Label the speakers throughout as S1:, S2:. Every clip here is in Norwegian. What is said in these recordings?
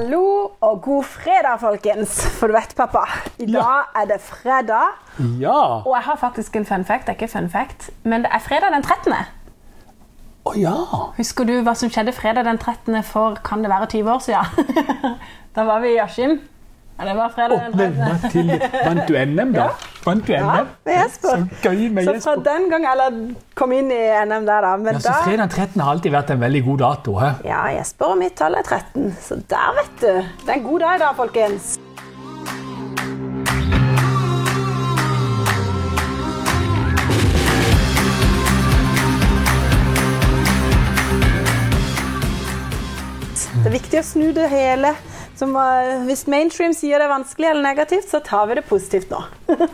S1: Hallo og god fredag, folkens. For du vet, pappa, i dag er det fredag.
S2: Ja. Å
S1: Og jeg har faktisk en fun fact. Det er ikke fun fact, men det er fredag den 13.
S2: ja.
S1: Husker du hva som skjedde fredag den 13. for kan det være 20 år siden? da var vi i Askim. Ja, det var fredag den 13.
S2: Vennene til Vant du NM, da? Vant du
S1: Ja,
S2: NM?
S1: med Jesper.
S2: Så gøy med
S1: Så fra
S2: Jesper.
S1: den gang Eller kom inn i NM der, da.
S2: Ja,
S1: Men
S2: så
S1: da
S2: Fredag 13 har alltid vært en veldig god dato. He?
S1: Ja, Jesper og mitt tall er 13. Så der, vet du. Det er en god dag i dag, folkens. Det er viktig å snu det hele. Som, eh, hvis mainstream sier det er vanskelig eller negativt, så tar vi det positivt nå.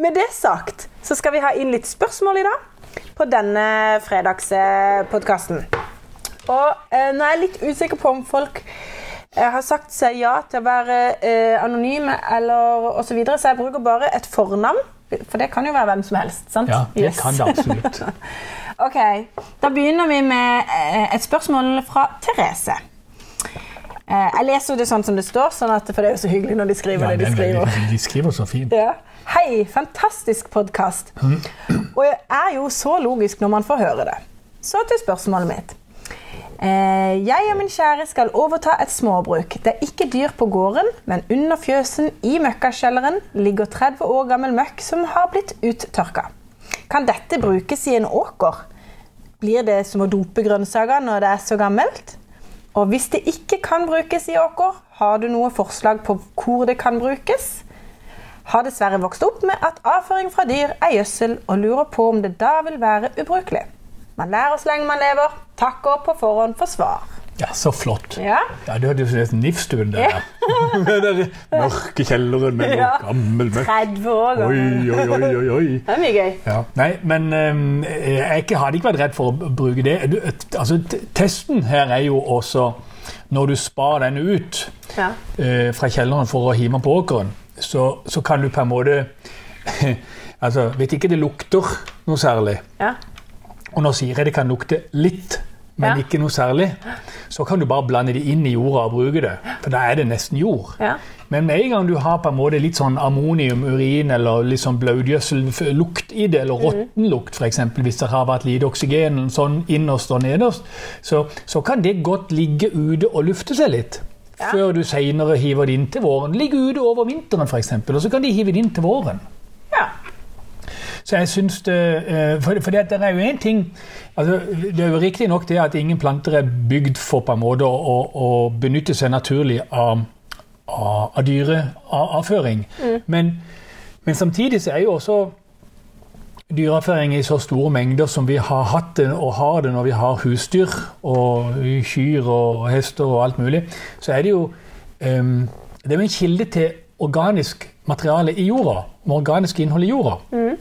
S1: Med det sagt så skal vi ha inn litt spørsmål i dag på denne fredagspodkasten. Og eh, nå er jeg litt usikker på om folk eh, har sagt seg ja til å være eh, anonyme eller osv., så, videre, så jeg bruker bare et fornavn. For det kan jo være hvem som helst. sant?
S2: Ja, det
S1: Yes.
S2: kan det absolutt.
S1: Ok, da begynner vi med eh, et spørsmål fra Therese. Eh, Jeg leser jo det sånn som det står, sånn at, for det er jo så hyggelig når de skriver
S2: Ja,
S1: det de
S2: den er
S1: skriver.
S2: veldig, de skriver så fint.
S1: Ja. Hei, fantastisk podkast. Og jeg er jo så logisk når man får høre det. Så til spørsmålet mitt. Eh, Jeg og min kjære skal overta et småbruk. Det er ikke dyr på gården, men under fjøsen i møkkakjelleren ligger 30 år gammel møkk som har blitt uttørka. Kan dette brukes i en åker? Blir det som å dope grønnsaker når det er så gammelt? Og hvis det ikke kan brukes i åker, har du noe forslag på hvor det kan brukes? har dessverre vokst opp med at avføring fra dyr er gjødsel, og lurer på om det da vil være ubrukelig. Man lærer så lenge man lever. Takker på forhånd for svar.
S2: Ja, så flott.
S1: Ja.
S2: Ja, Det hørtes ut som Nifstuen, det der. Den der mørke kjelleren med noe
S1: Ja.
S2: gammel møkk.
S1: 30 år
S2: Oi, oi, oi, oi, oi.
S1: Det er mye gøy.
S2: Ja. Nei, men ehm, jeg er ikke- hadde ikke vært redd for å b- bruke det. Du, et- altså, t- testen her er jo også når du spar den ut
S1: Ja.
S2: eh, fra kjelleren for å hive den på åkeren, så, så kan du på en måte Altså, hvis ikke det lukter noe særlig,
S1: Ja.
S2: og nå sier jeg det kan lukte litt, men
S1: Ja.
S2: ikke noe særlig, så kan du bare blande det inn i jorda og bruke det. For da er det nesten jord.
S1: Ja.
S2: Men med en gang du har på en måte litt sånn ammonium, urin eller litt sånn blaudgjødsellukt i det, eller råttenlukt f.eks., hvis det har vært lite oksygen sånn innerst og nederst, så, så kan det godt ligge ute og lufte seg litt.
S1: Ja.
S2: Før du seinere hiver det inn til våren. Ligge ute over vinteren f.eks., og så kan de hive det inn til våren.
S1: ja.
S2: Så jeg synes det, eh, for, for det, at det er jo en ting altså, Det er jo riktig nok det at ingen planter er bygd for på en måte å, å, å benytte seg naturlig av, av, av dyreavføring. Men, men samtidig så er jo også dyreavføring i så store mengder som vi har hatt det og har det når vi har husdyr og kyr og hester og alt mulig, så er det jo ehm, det er jo en kilde til organisk materiale i jorda, med organisk innhold i jorda.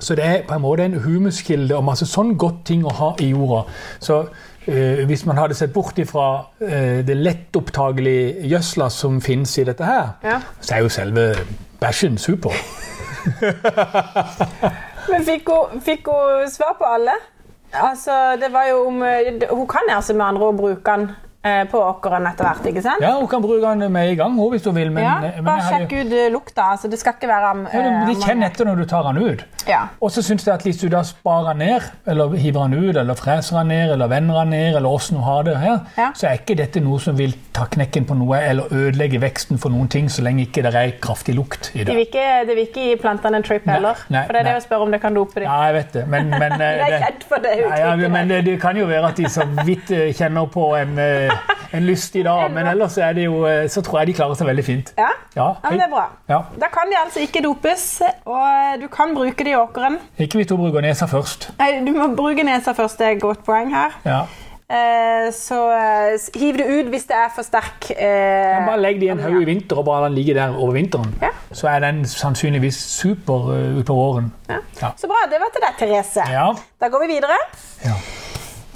S2: Så det er på en måte en humuskilde og masse sånn godt ting å ha i jorda. Så eh, hvis man hadde sett bort ifra eh, det lettopptagelige gjødsla som finnes i dette her,
S1: Ja.
S2: så er jo selve bæsjen super.
S1: Men fikk hun, fikk hun svar på alle? Altså, det var jo om eh, det- Hun kan altså med andre ord bruke den eh, på åkeren etter hvert, ikke sant?
S2: Ja, hun kan bruke den med i gang hun, hvis hun vil, men, men
S1: Bare
S2: jeg hadde-
S1: sjekk ut eh, lukta. Altså, det skal ikke være am-
S2: Ja,
S1: eh,
S2: du- de
S1: am-
S2: kjenner etter når du tar den ut.
S1: Ja.
S2: Og så syns jeg at hvis du da sparer den ned, eller hiver den ut, eller freser den ned, eller vender den ned, eller åssen du har det her,
S1: Ja.
S2: så er ikke dette noe som vil ta knekken på noe eller ødelegge veksten for noen ting, så lenge ikke det er kraftig lukt i
S1: Det
S2: det.
S1: vil ikke, det vil ikke gi plantene en trip heller.
S2: nei,
S1: for det er det
S2: nei.
S1: å spørre om det kan dope dem.
S2: Ja, jeg vet det, men, men eh,
S1: Jeg er
S2: det-
S1: redd for det
S2: Nei, ja,
S1: uttrykket.
S2: men det, det kan jo være at de så vidt eh, kjenner på en, eh, en lystig dag, men ellers er det jo, eh, så tror jeg de klarer seg veldig fint.
S1: Ja?
S2: Ja,
S1: ja, men det er bra.
S2: Ja.
S1: Da kan de altså ikke dopes, og eh, du kan bruke det i åkeren.
S2: Ikke hvis du bruker nesa først.
S1: Nei, du må bruke nesa først, det er et godt poeng her.
S2: Ja.
S1: Eh, så eh, s- hiv det ut hvis det er for sterk eh,
S2: Bare legg det i en haug i vinter og bare la den ligge der over vinteren.
S1: Ja.
S2: Så er den sannsynligvis super uh, utpå våren.
S1: ja.
S2: Ja.
S1: Så bra. Det var til deg, Therese.
S2: Ja.
S1: Da går vi videre.
S2: Ja.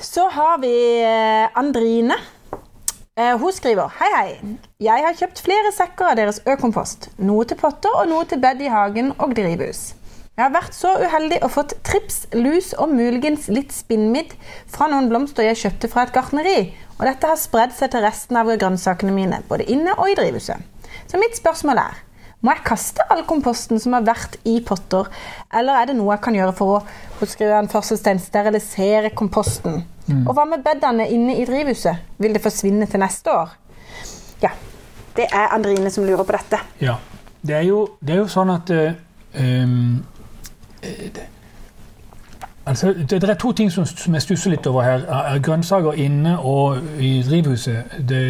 S1: Så har vi eh, Andrine. Eh, Hun skriver Hei, hei. Jeg har kjøpt flere sekker av deres økompost. Noe til potter og noe til bed i hagen og drivhus. Jeg har vært så uheldig og fått trips, lus og muligens litt spinnmidd fra noen blomster jeg kjøpte fra et gartneri, og dette har spredd seg til resten av grønnsakene mine, både inne og i drivhuset. Så mitt spørsmål er må jeg kaste all komposten som har vært i potter, eller er det noe jeg kan gjøre for å hun skriver en førstestein, sterilisere komposten?
S2: Mm.
S1: Og hva med bedene inne i drivhuset? Vil det forsvinne til neste år? Ja, det er Andrine som lurer på dette.
S2: Ja. Det er jo, det er jo sånn at eh, ehm, eh, det, Altså, det, det er to ting som, som jeg stusser litt over her. Eh, Er- er Grønnsaker inne og i drivhuset. Det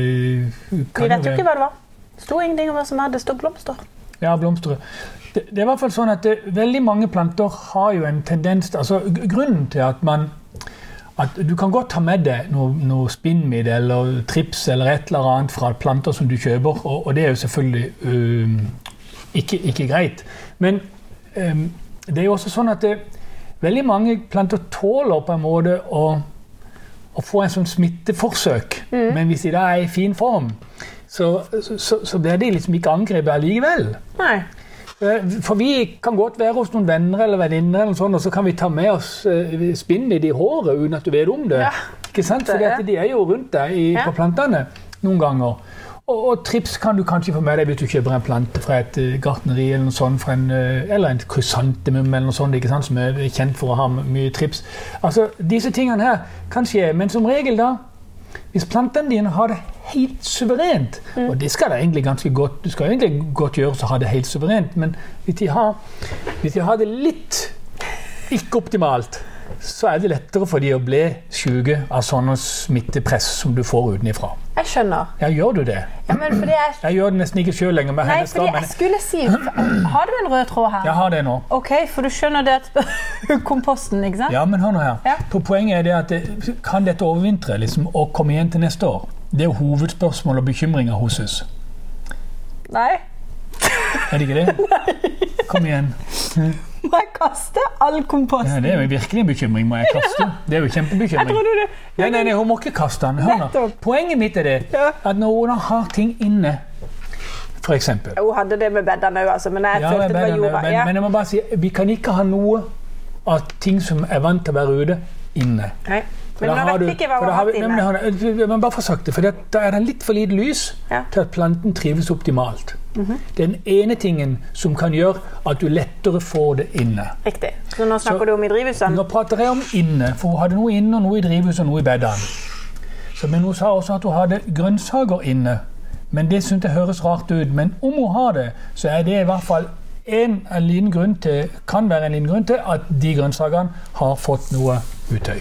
S1: Vi
S2: kan
S1: vet jo
S2: være-
S1: ikke hva det var. Sto ingenting om hva som hadde stått blomster.
S2: Ja, blomster. Det, det er i hvert fall sånn at det, veldig mange planter har jo en tendens til altså, gr- Grunnen til at man at Du kan godt ta med deg noe, noe spinnmidd eller trips eller et eller annet fra planter som du kjøper, og, og det er jo selvfølgelig øhm, ikke, ikke greit. Men øhm, det er jo også sånn at det, veldig mange planter tåler på en måte å, å få en sånn smitteforsøk. Men hvis de da er i fin form, så, så, så, så blir de liksom ikke angrepet allikevel.
S1: Nei.
S2: Eh, For vi kan godt være hos noen venner eller venninner, eller sånn, og så kan vi ta med oss eh, spinnvidd i håret uten at du vet om det.
S1: Ja,
S2: Ikke sant?
S1: det
S2: For
S1: er-
S2: de er jo rundt deg i,
S1: Ja.
S2: på plantene noen ganger. Og, og trips kan du kanskje få med deg hvis du kjøper en plante fra et eh, gartneri eller noe sånt, fra en, eh, eller en krysantemum eller noe sånt, ikke sant? som er kjent for å ha mye trips. Altså, Disse tingene her kan skje, men som regel da hvis plantene dine har det helt suverent, og det skal det egentlig ganske godt, du skal egentlig godt gjøre å ha det helt suverent, men hvis de har, hvis de har det litt ikke optimalt, så er det lettere for de å bli syke av sånne smittepress som du får utenifra.
S1: Jeg skjønner.
S2: Ja, gjør du det?
S1: Ja, men fordi jeg,
S2: Jeg gjør det nesten ikke sjøl lenger. Med
S1: nei,
S2: hennes da,
S1: fordi
S2: men
S1: jeg skulle si Har du en rød tråd her?
S2: jeg har det nå.
S1: OK, for du skjønner det at komposten, ikke sant?
S2: Ja, men hør nå her.
S1: Ja.
S2: For Poenget er det at det, kan dette overvintre liksom, og komme igjen til neste år? Det er hovedspørsmål og bekymringer hos oss.
S1: Nei.
S2: Er det ikke det? Kom igjen.
S1: Må jeg kaste all
S2: Ja,
S1: komposten?
S2: det er jo virkelig en bekymring. Må jeg kaste? Det er jo
S1: Jeg
S2: kjempebekymring.
S1: trodde du
S2: Nei, nei, nei, hun må ikke kaste den. Hør nå.
S1: Nettopp.
S2: Poenget mitt er det
S1: Ja.
S2: at når Oda har ting inne, for eksempel
S1: Hun hadde det med bedene òg, altså, men jeg
S2: Ja,
S1: følte
S2: men,
S1: det var jorda.
S2: men,
S1: Ja.
S2: men jeg må bare si, vi kan ikke ha noe av ting som er vant til å være ute, inne.
S1: Nei.
S2: For
S1: Men
S2: da
S1: nå
S2: har
S1: vet
S2: du-
S1: vi ikke hva
S2: for
S1: hun
S2: da
S1: har
S2: har
S1: hatt
S2: vi- Nei,
S1: inne.
S2: men det har- men Bare for sakte, for det, da er det litt for lite lys
S1: Ja. Mhm.
S2: til at planten trives optimalt. Det er den ene tingen som kan gjøre at du lettere får det inne.
S1: Riktig. Så nå snakker
S2: Så-
S1: du om i drivhusene.
S2: Nå prater jeg om inne, for hun hadde noe inne, og noe i drivhuset og noe i bedene. Så, men hun sa også at hun hadde grønnsaker inne. Men det syntes jeg høres rart ut. Men om hun har det, så er det i hvert fall en, en liten grunn til, kan være en liten grunn til at de grønnsakene har fått noe utøy.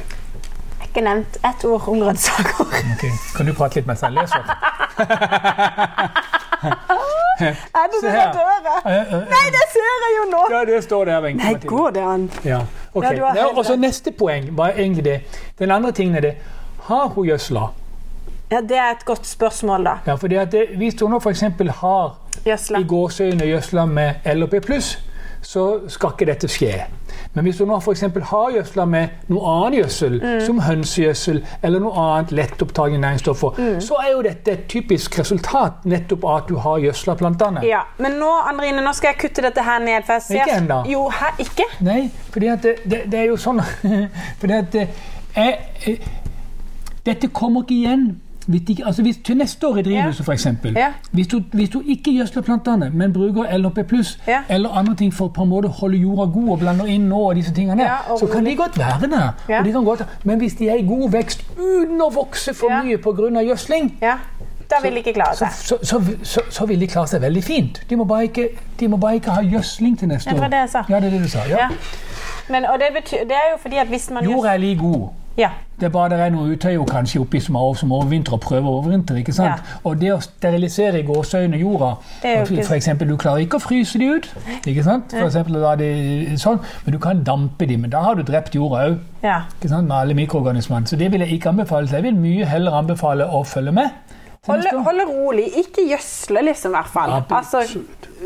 S1: Ikke nevnt ett ord om grønnsaker.
S2: Ok, Kan du prate litt mens jeg leser?
S1: Er det
S2: Se
S1: det
S2: her.
S1: døra?
S2: Eh, eh, eh.
S1: Nei, det ser jeg jo nå!
S2: Ja, det står der, Wenche.
S1: Nei,
S2: Mathilde.
S1: går det an?
S2: Ja, ok.
S1: Ja, du har
S2: Ja,
S1: helt
S2: og så
S1: rett.
S2: neste poeng var egentlig det. Den andre tingen er det. Har hun gjødsla?
S1: Ja, Det er et godt spørsmål, da.
S2: Ja, fordi at det, hvis hun nå f.eks. har
S1: Gjødsla.
S2: i gåseøyne gjødsla med LHP+, så skal ikke dette skje. Men hvis du nå f.eks. har gjødsla med noe annen gjødsel, som hønsegjødsel eller noe annet lettopptagende næringsstoffer, så er jo dette et typisk resultat nettopp av at du har gjødsla plantene.
S1: Ja, Men nå Andrine, nå skal jeg kutte dette her ned. For jeg ser...
S2: Ikke ennå.
S1: Jo, her, ikke?
S2: Nei, fordi at det, det, det er jo sånn Fordi at eh, jeg, eh, Dette kommer ikke igjen. Hvis ikke, altså hvis, til neste år i drivhuset, for f.eks.
S1: Ja.
S2: Hvis, du- hvis du ikke gjødsler plantene, men bruker LHP
S1: Ja.
S2: eller andre ting for å på en måte holde jorda god og blander inn nå, og disse tingene,
S1: Ja, og
S2: så kan de godt være der.
S1: Ja.
S2: Og de kan godt, men hvis de er i god vekst uten å vokse for
S1: Ja.
S2: mye pga. gjødsling,
S1: Ja. Da vil de ikke klare
S2: så,
S1: seg.
S2: så, så, så, så vil de klare seg veldig fint. De må bare ikke, de må bare ikke ha gjødsling til neste
S1: Ja,
S2: år.
S1: det var det jeg sa.
S2: Ja, det er det du sa. Ja.
S1: Ja. Men, og det, betyr, det er jo fordi at hvis man
S2: Jorda er like god.
S1: Ja.
S2: Det er bare det er noe utøy jo kanskje oppi som er over- som overvintrer og prøver å overvintre. ikke sant?
S1: Ja.
S2: Og det å sterilisere i gåseøyne jorda
S1: Det er jo ikke-
S2: for eksempel, Du klarer ikke å fryse de ut, ikke sant? For eksempel, la de, sånn, men du kan dampe de, men da har du drept jorda òg.
S1: ja.
S2: Med alle mikroorganismene. Så det vil jeg ikke anbefale. Så jeg vil mye heller anbefale å følge med. til neste
S1: Holde,
S2: år.
S1: holde rolig. Ikke gjødsle, liksom, i hvert fall.
S2: Ja,
S1: Altså,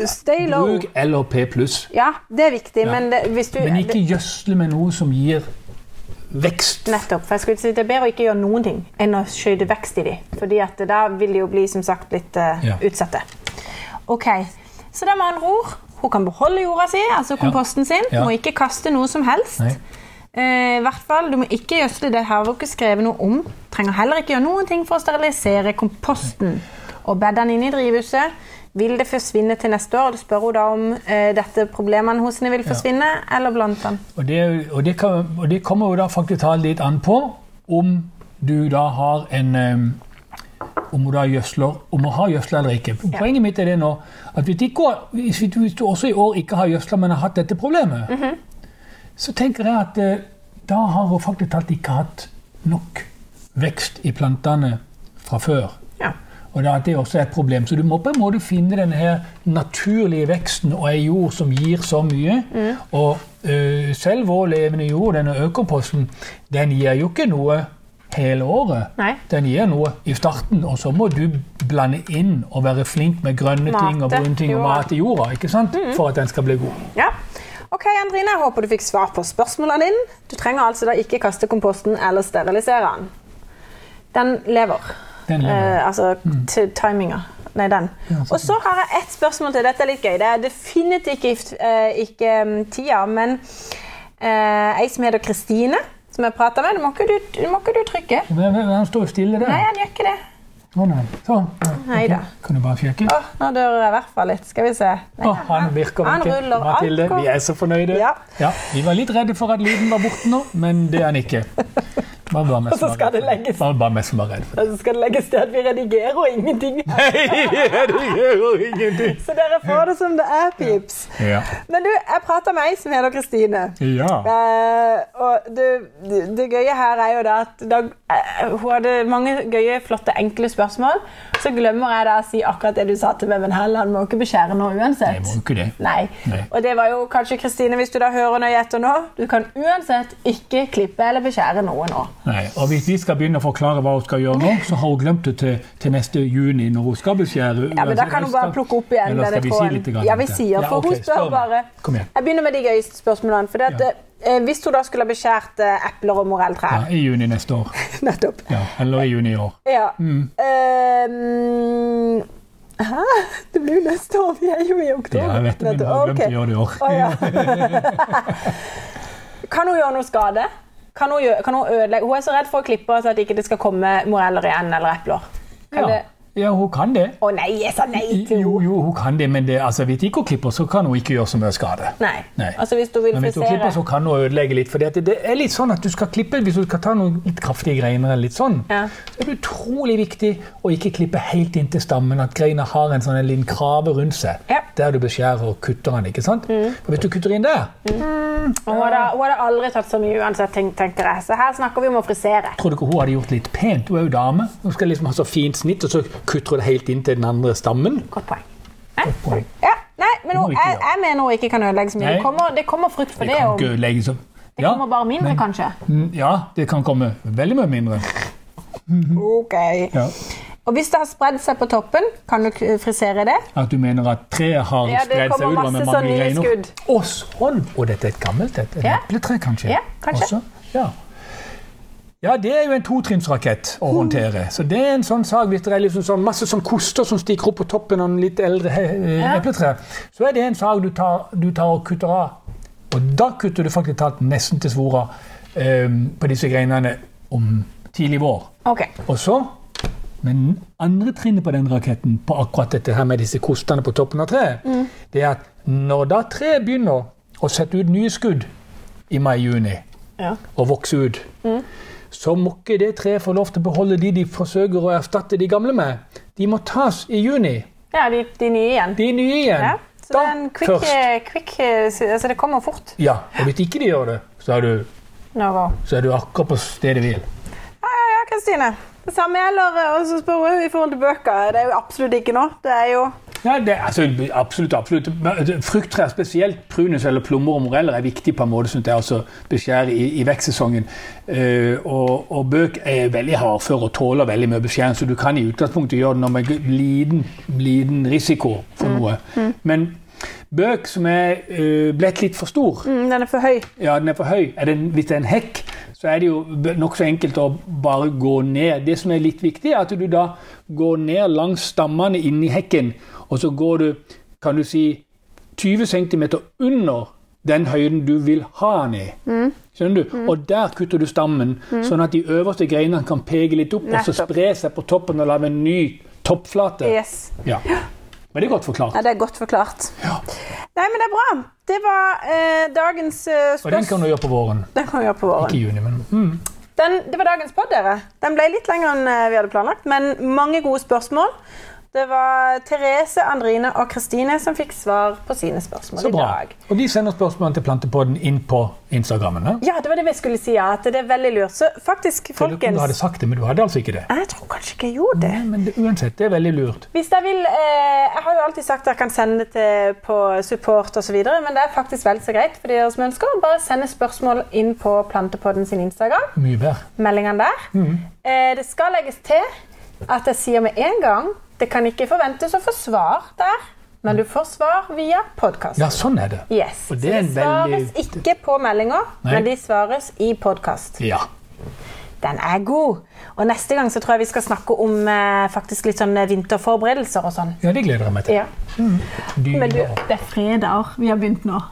S1: stay low.
S2: Bruk LHP pluss,
S1: Ja, det er viktig, men det, hvis du
S2: men ikke gjødsle med noe som gir vekst.
S1: Nettopp. for jeg skulle si Det er bedre å ikke gjøre noen ting enn å skjøte vekst i de. Fordi at da vil de jo bli som sagt litt eh,
S2: Ja.
S1: utsatte. Ok, Så det er med andre ord Hun kan beholde jorda si, altså komposten sin.
S2: Ja.
S1: Må ikke kaste noe som helst.
S2: Nei.
S1: Eh, i hvert fall, Du må ikke gjødsle. Det har vi ikke skrevet noe om. Trenger heller ikke gjøre noen ting for å sterilisere komposten. Og bed den inn i drivhuset. Vil det forsvinne til neste år? Og Du spør hun da om eh, dette problemene hos henne vil forsvinne, eller blant den.
S2: Og det, og, det kan, og det kommer jo da faktisk ta litt an på om du da har en eh, om du da gjødsler, om du har gjødsla eller ikke. Poenget mitt er det nå at hvis, ikke, hvis, du, hvis du også i år ikke har gjødsla, men har hatt dette problemet, så tenker jeg at eh, da har hun faktisk talt ikke hatt nok vekst i plantene fra før.
S1: Ja.
S2: Og da at det også er et problem. Så du må på en måte finne den her naturlige veksten og ei jord som gir så mye.
S1: Mm.
S2: Og øh, selv vår levende jord, denne økomposten, den gir jo ikke noe hele året.
S1: Nei.
S2: Den gir noe i starten, og så må du blande inn og være flink med grønne
S1: Mate,
S2: ting og brune ting og
S1: jorda. Mm.
S2: mat i jorda ikke sant? for at den skal bli god.
S1: Ja. Ok, Andrine, jeg håper du fikk svar på spørsmålene dine. Du trenger altså da ikke kaste komposten eller sterilisere den. Den lever.
S2: Den lever.
S1: Eh, altså
S2: Mm.
S1: t- timinga. Nei, den. Og så har jeg ett spørsmål til. Dette er litt gøy. Det er definitivt ikke, gift- eh, ikke mm, tida, men eh, ei som heter Kristine, som jeg prata med, det må ikke du, må ikke du trykke.
S2: Men men Den står jo stille der.
S1: Eh. Nei, han gjør ikke det.
S2: Å, nei. Sånn.
S1: Nei da.
S2: Kan du bare sjekke?
S1: Å, nå dør jeg i hvert fall litt. Skal vi se. Nei,
S2: Å, han virker
S1: han
S2: ikke.
S1: ruller
S2: Mathilde,
S1: alkohol.
S2: vi er så fornøyde.
S1: Ja.
S2: vi var litt redde for at lyden var borte nå, men det er den ikke. Man var mest
S1: Og så skal det
S2: bare redd for
S1: legges.
S2: Man var mest bare redd for det.
S1: Så skal det legges til at vi redigerer og ingenting.
S2: Nei, det gjør jo ingenting.
S1: Så dere får det som det er, pips.
S2: Ja.
S1: Men du, jeg prater med ei som heter Kristine.
S2: ja.
S1: Eh, og det, det, det gøye her er jo da at da, eh, hun hadde mange gøye, flotte, enkle spørsmål. Så glemmer jeg da å si akkurat det du sa til meg, men heller, han må jo ikke beskjære nå uansett.
S2: Jeg må jo ikke det.
S1: Nei.
S2: Nei.
S1: Og det var jo kanskje Kristine, hvis du da hører nøye etter nå. Du kan uansett ikke klippe eller beskjære noe nå.
S2: Nei, og Hvis vi skal begynne å forklare hva hun skal gjøre nå, så har hun glemt det til, til neste juni. når hun skal beskjære.
S1: Ja, men Da kan hun bare plukke opp igjen
S2: Eller
S1: denne
S2: skal vi si
S1: tråden.
S2: litt grann
S1: ja,
S2: om
S1: vi
S2: det?
S1: sier, for
S2: Ja, ok,
S1: hun spør
S2: meg.
S1: bare
S2: Kom igjen.
S1: Jeg begynner med de gøye spørsmålene. For det at,
S2: Ja.
S1: eh, hvis hun da skulle ha beskjært eh, epler og
S2: Ja,
S1: morelltrær
S2: I juni neste år.
S1: Nettopp.
S2: Ja, eller i juni i år.
S1: Ja.
S2: Mm.
S1: Ehm, hæ? Det blir jo neste år. Vi er jo i oktober.
S2: Ja, jeg vet det, men
S1: Nettopp.
S2: hun har glemt
S1: Ok.
S2: å gjøre det i år.
S1: Å, ja. kan hun gjøre noe skade? Kan hun, gjø- kan hun ødelegge Hun er så redd for å klippe så at ikke det skal komme moreller igjen eller epler. Kan
S2: Ja,
S1: det
S2: ja hun kan det.
S1: Å nei, jeg sa nei til
S2: Jo,
S1: henne!
S2: jo, hun kan det, men det, altså, hvis ikke hun klipper, så kan hun ikke gjøre så mye skade.
S1: Nei.
S2: Nei.
S1: Altså hvis du vil
S2: Men hvis du klipper, så
S1: frisere
S2: kan du ødelegge litt. For det, det er litt sånn at du skal klippe hvis du skal ta noen litt kraftige greiner. eller litt sånn.
S1: Ja.
S2: Så er det utrolig viktig å ikke klippe helt inntil stammen, at greina har en sånn en liten krave rundt seg.
S1: Ja. Mm.
S2: Der du beskjærer og kutter den. ikke sant? For hvis du kutter inn der,
S1: Og hun hadde, hun hadde aldri tatt så mye uansett, tenk- tenker jeg. Så her snakker vi om å frisere.
S2: tror du ikke hun hadde gjort litt pent? Hun er jo dame. Hun skal liksom ha så fint snitt, og så kutter hun det helt inntil den andre stammen.
S1: Godt poeng.
S2: Godt poeng.
S1: Ja, nei, men
S2: Det må
S1: hun,
S2: vi ikke
S1: jeg, jeg mener hun ikke kan ødelegge så mye.
S2: Nei.
S1: Det kommer, det kommer frukt for
S2: Det
S1: det.
S2: kan
S1: og-
S2: ikke ødelegge så
S1: Det kommer bare mindre, kanskje.
S2: Mm, Ja, det kan komme veldig mye mindre.
S1: Ok.
S2: Mm. Ja.
S1: Og hvis det har spredd seg på toppen, kan du k- frisere det?
S2: At du mener at treet har
S1: Ja, det
S2: spredd seg
S1: kommer
S2: utover med
S1: masse
S2: mange
S1: sånne
S2: greiner?
S1: skudd.
S2: Og sånn! Og dette er et gammelt et. Et
S1: Ja.
S2: epletre, kanskje?
S1: Ja, kanskje.
S2: Også? Ja. ja, det er jo en totrinnsrakett å håndtere. Så det er en sånn sag hvis det er liksom sånn masse sånn koster som stikker opp på toppen av en litt eldre eh,
S1: Ja.
S2: epletre, så er det en sag du tar, du tar og kutter av. Og da kutter du faktisk talt nesten til svora eh, på disse greinene om tidlig vår.
S1: Ok.
S2: Og så Men andre trinnet på den raketten, på akkurat dette her med disse kostene på toppen av treet,
S1: Mm.
S2: det er at når da treet begynner å sette ut nye skudd i mai-juni
S1: Ja.
S2: og vokse ut,
S1: Mm.
S2: så må ikke det treet få lov til å beholde de de forsøker å erstatte de gamle med. De må tas i juni.
S1: de, de nye igjen.
S2: De nye igjen.
S1: Ja. Så det er en quick, eh, quick eh, s- Altså, det kommer fort.
S2: Ja, og hvis ikke de gjør det, så er du,
S1: No go.
S2: så er du akkurat på stedet hvil.
S1: Ja, ja, ja, Kristine. Det samme gjelder eh, og så spør hun i forhold til bøker. Det er jo absolutt ikke nå. Det er jo
S2: Nei, det, altså, absolutt, absolutt. Men, altså, Frukttrær, spesielt prunus eller plommer og moreller, er viktig på en måte som det er å beskjære i, i vekstsesongen. Eh, og, og bøk er veldig hardfør og tåler veldig mye beskjæring, så du kan i utgangspunktet gjøre det nå med liten, liten risiko for noe. Men bøk som er eh, blitt litt for stor,
S1: mm, Den er for høy.
S2: ja, den er for høy. Er det, en- hvis det er en hekk, så er det jo nokså enkelt å bare gå ned. Det som er litt viktig, er at du da går ned langs stammene inni hekken, og så går du, kan du si, 20 cm under den høyden du vil ha den i.
S1: Mm.
S2: Skjønner du? Og der kutter du stammen, sånn at de øverste greinene kan peke litt opp og så
S1: Nettopp.
S2: spre seg på toppen og lage en ny toppflate.
S1: Yes.
S2: Ja. Men det er godt forklart.
S1: Ja, det er godt forklart.
S2: Ja.
S1: Nei, men det er bra. Det var eh, dagens eh,
S2: Og den kan
S1: spørsmål.
S2: du gjøre på våren.
S1: Den kan vi gjøre på våren.
S2: Ikke i juni, men mm.
S1: Den, det var dagens podd, dere. Den ble litt lengre enn eh, vi hadde planlagt, men mange gode spørsmål. Det var Therese, Andrine og Kristine som fikk svar på sine spørsmål i
S2: så bra.
S1: dag.
S2: Og de sender spørsmålene til Plantepodden inn på Instagrammen. ja?
S1: Ja, det var det vi skulle si, ja. At det er veldig lurt. Så faktisk,
S2: Jeg lurer på om Du hadde
S1: folkens
S2: sagt det, men du hadde altså ikke det.
S1: Jeg tror kanskje ikke jeg gjorde det.
S2: Men det, uansett, det er veldig lurt.
S1: Hvis dere vil, eh, Jeg har jo alltid sagt dere kan sende det til på support osv., men det er faktisk vel så greit for dere som ønsker. Bare sende spørsmål inn på Plantepodden sin Instagram.
S2: Mye bedre.
S1: Meldingene der.
S2: Mm.
S1: Eh, det skal legges til at jeg sier med en gang det kan ikke forventes å få svar der, men du får svar via podkast.
S2: Ja, sånn er det.
S1: Yes. Så
S2: Og det er
S1: det
S2: en
S1: svares
S2: veldig-
S1: ikke på meldinger,
S2: Nei.
S1: men de svares i podkast.
S2: Ja.
S1: Den er god. Og neste gang så tror jeg vi skal snakke om eh, faktisk litt sånn eh, vinterforberedelser og sånn.
S2: ja, det gleder jeg meg til.
S1: Ja.
S2: Dyr
S1: Men du,
S2: og-
S1: det er fredager vi har begynt nå.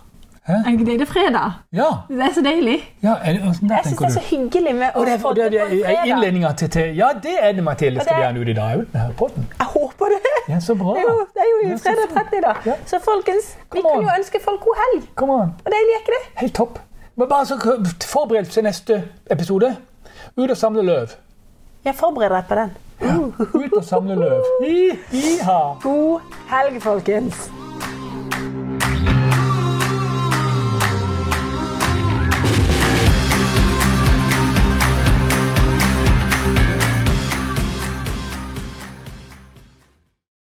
S2: Hæ?
S1: Er ikke det det er fredag?
S2: Ja,
S1: Det er så deilig.
S2: ja er, det- hvordan der
S1: Jeg syns
S2: tenker
S1: det er
S2: du?
S1: så hyggelig med å
S2: Og det er,
S1: få
S2: og det er,
S1: det på en
S2: det er
S1: fredag.
S2: innledninga til, til Ja, det er det, Mathilde. Skal
S1: det-
S2: vi ha den ut i dag òg? Denne podden?
S1: Jeg håper det.
S2: Ja, så bra.
S1: Det er jo, det er jo i
S2: Ja, så
S1: fredag 30
S2: fint.
S1: da.
S2: Ja.
S1: Så folkens, vi
S2: Come
S1: kan jo
S2: on.
S1: ønske folk god helg.
S2: Kom an.
S1: Og deilig er ikke det?
S2: Helt topp. Men bare så forbered til neste episode. Ut og samle løv.
S1: Jeg forbereder deg på den.
S2: Ut og samle løv. Hi, hi, ha.
S1: God helg, folkens.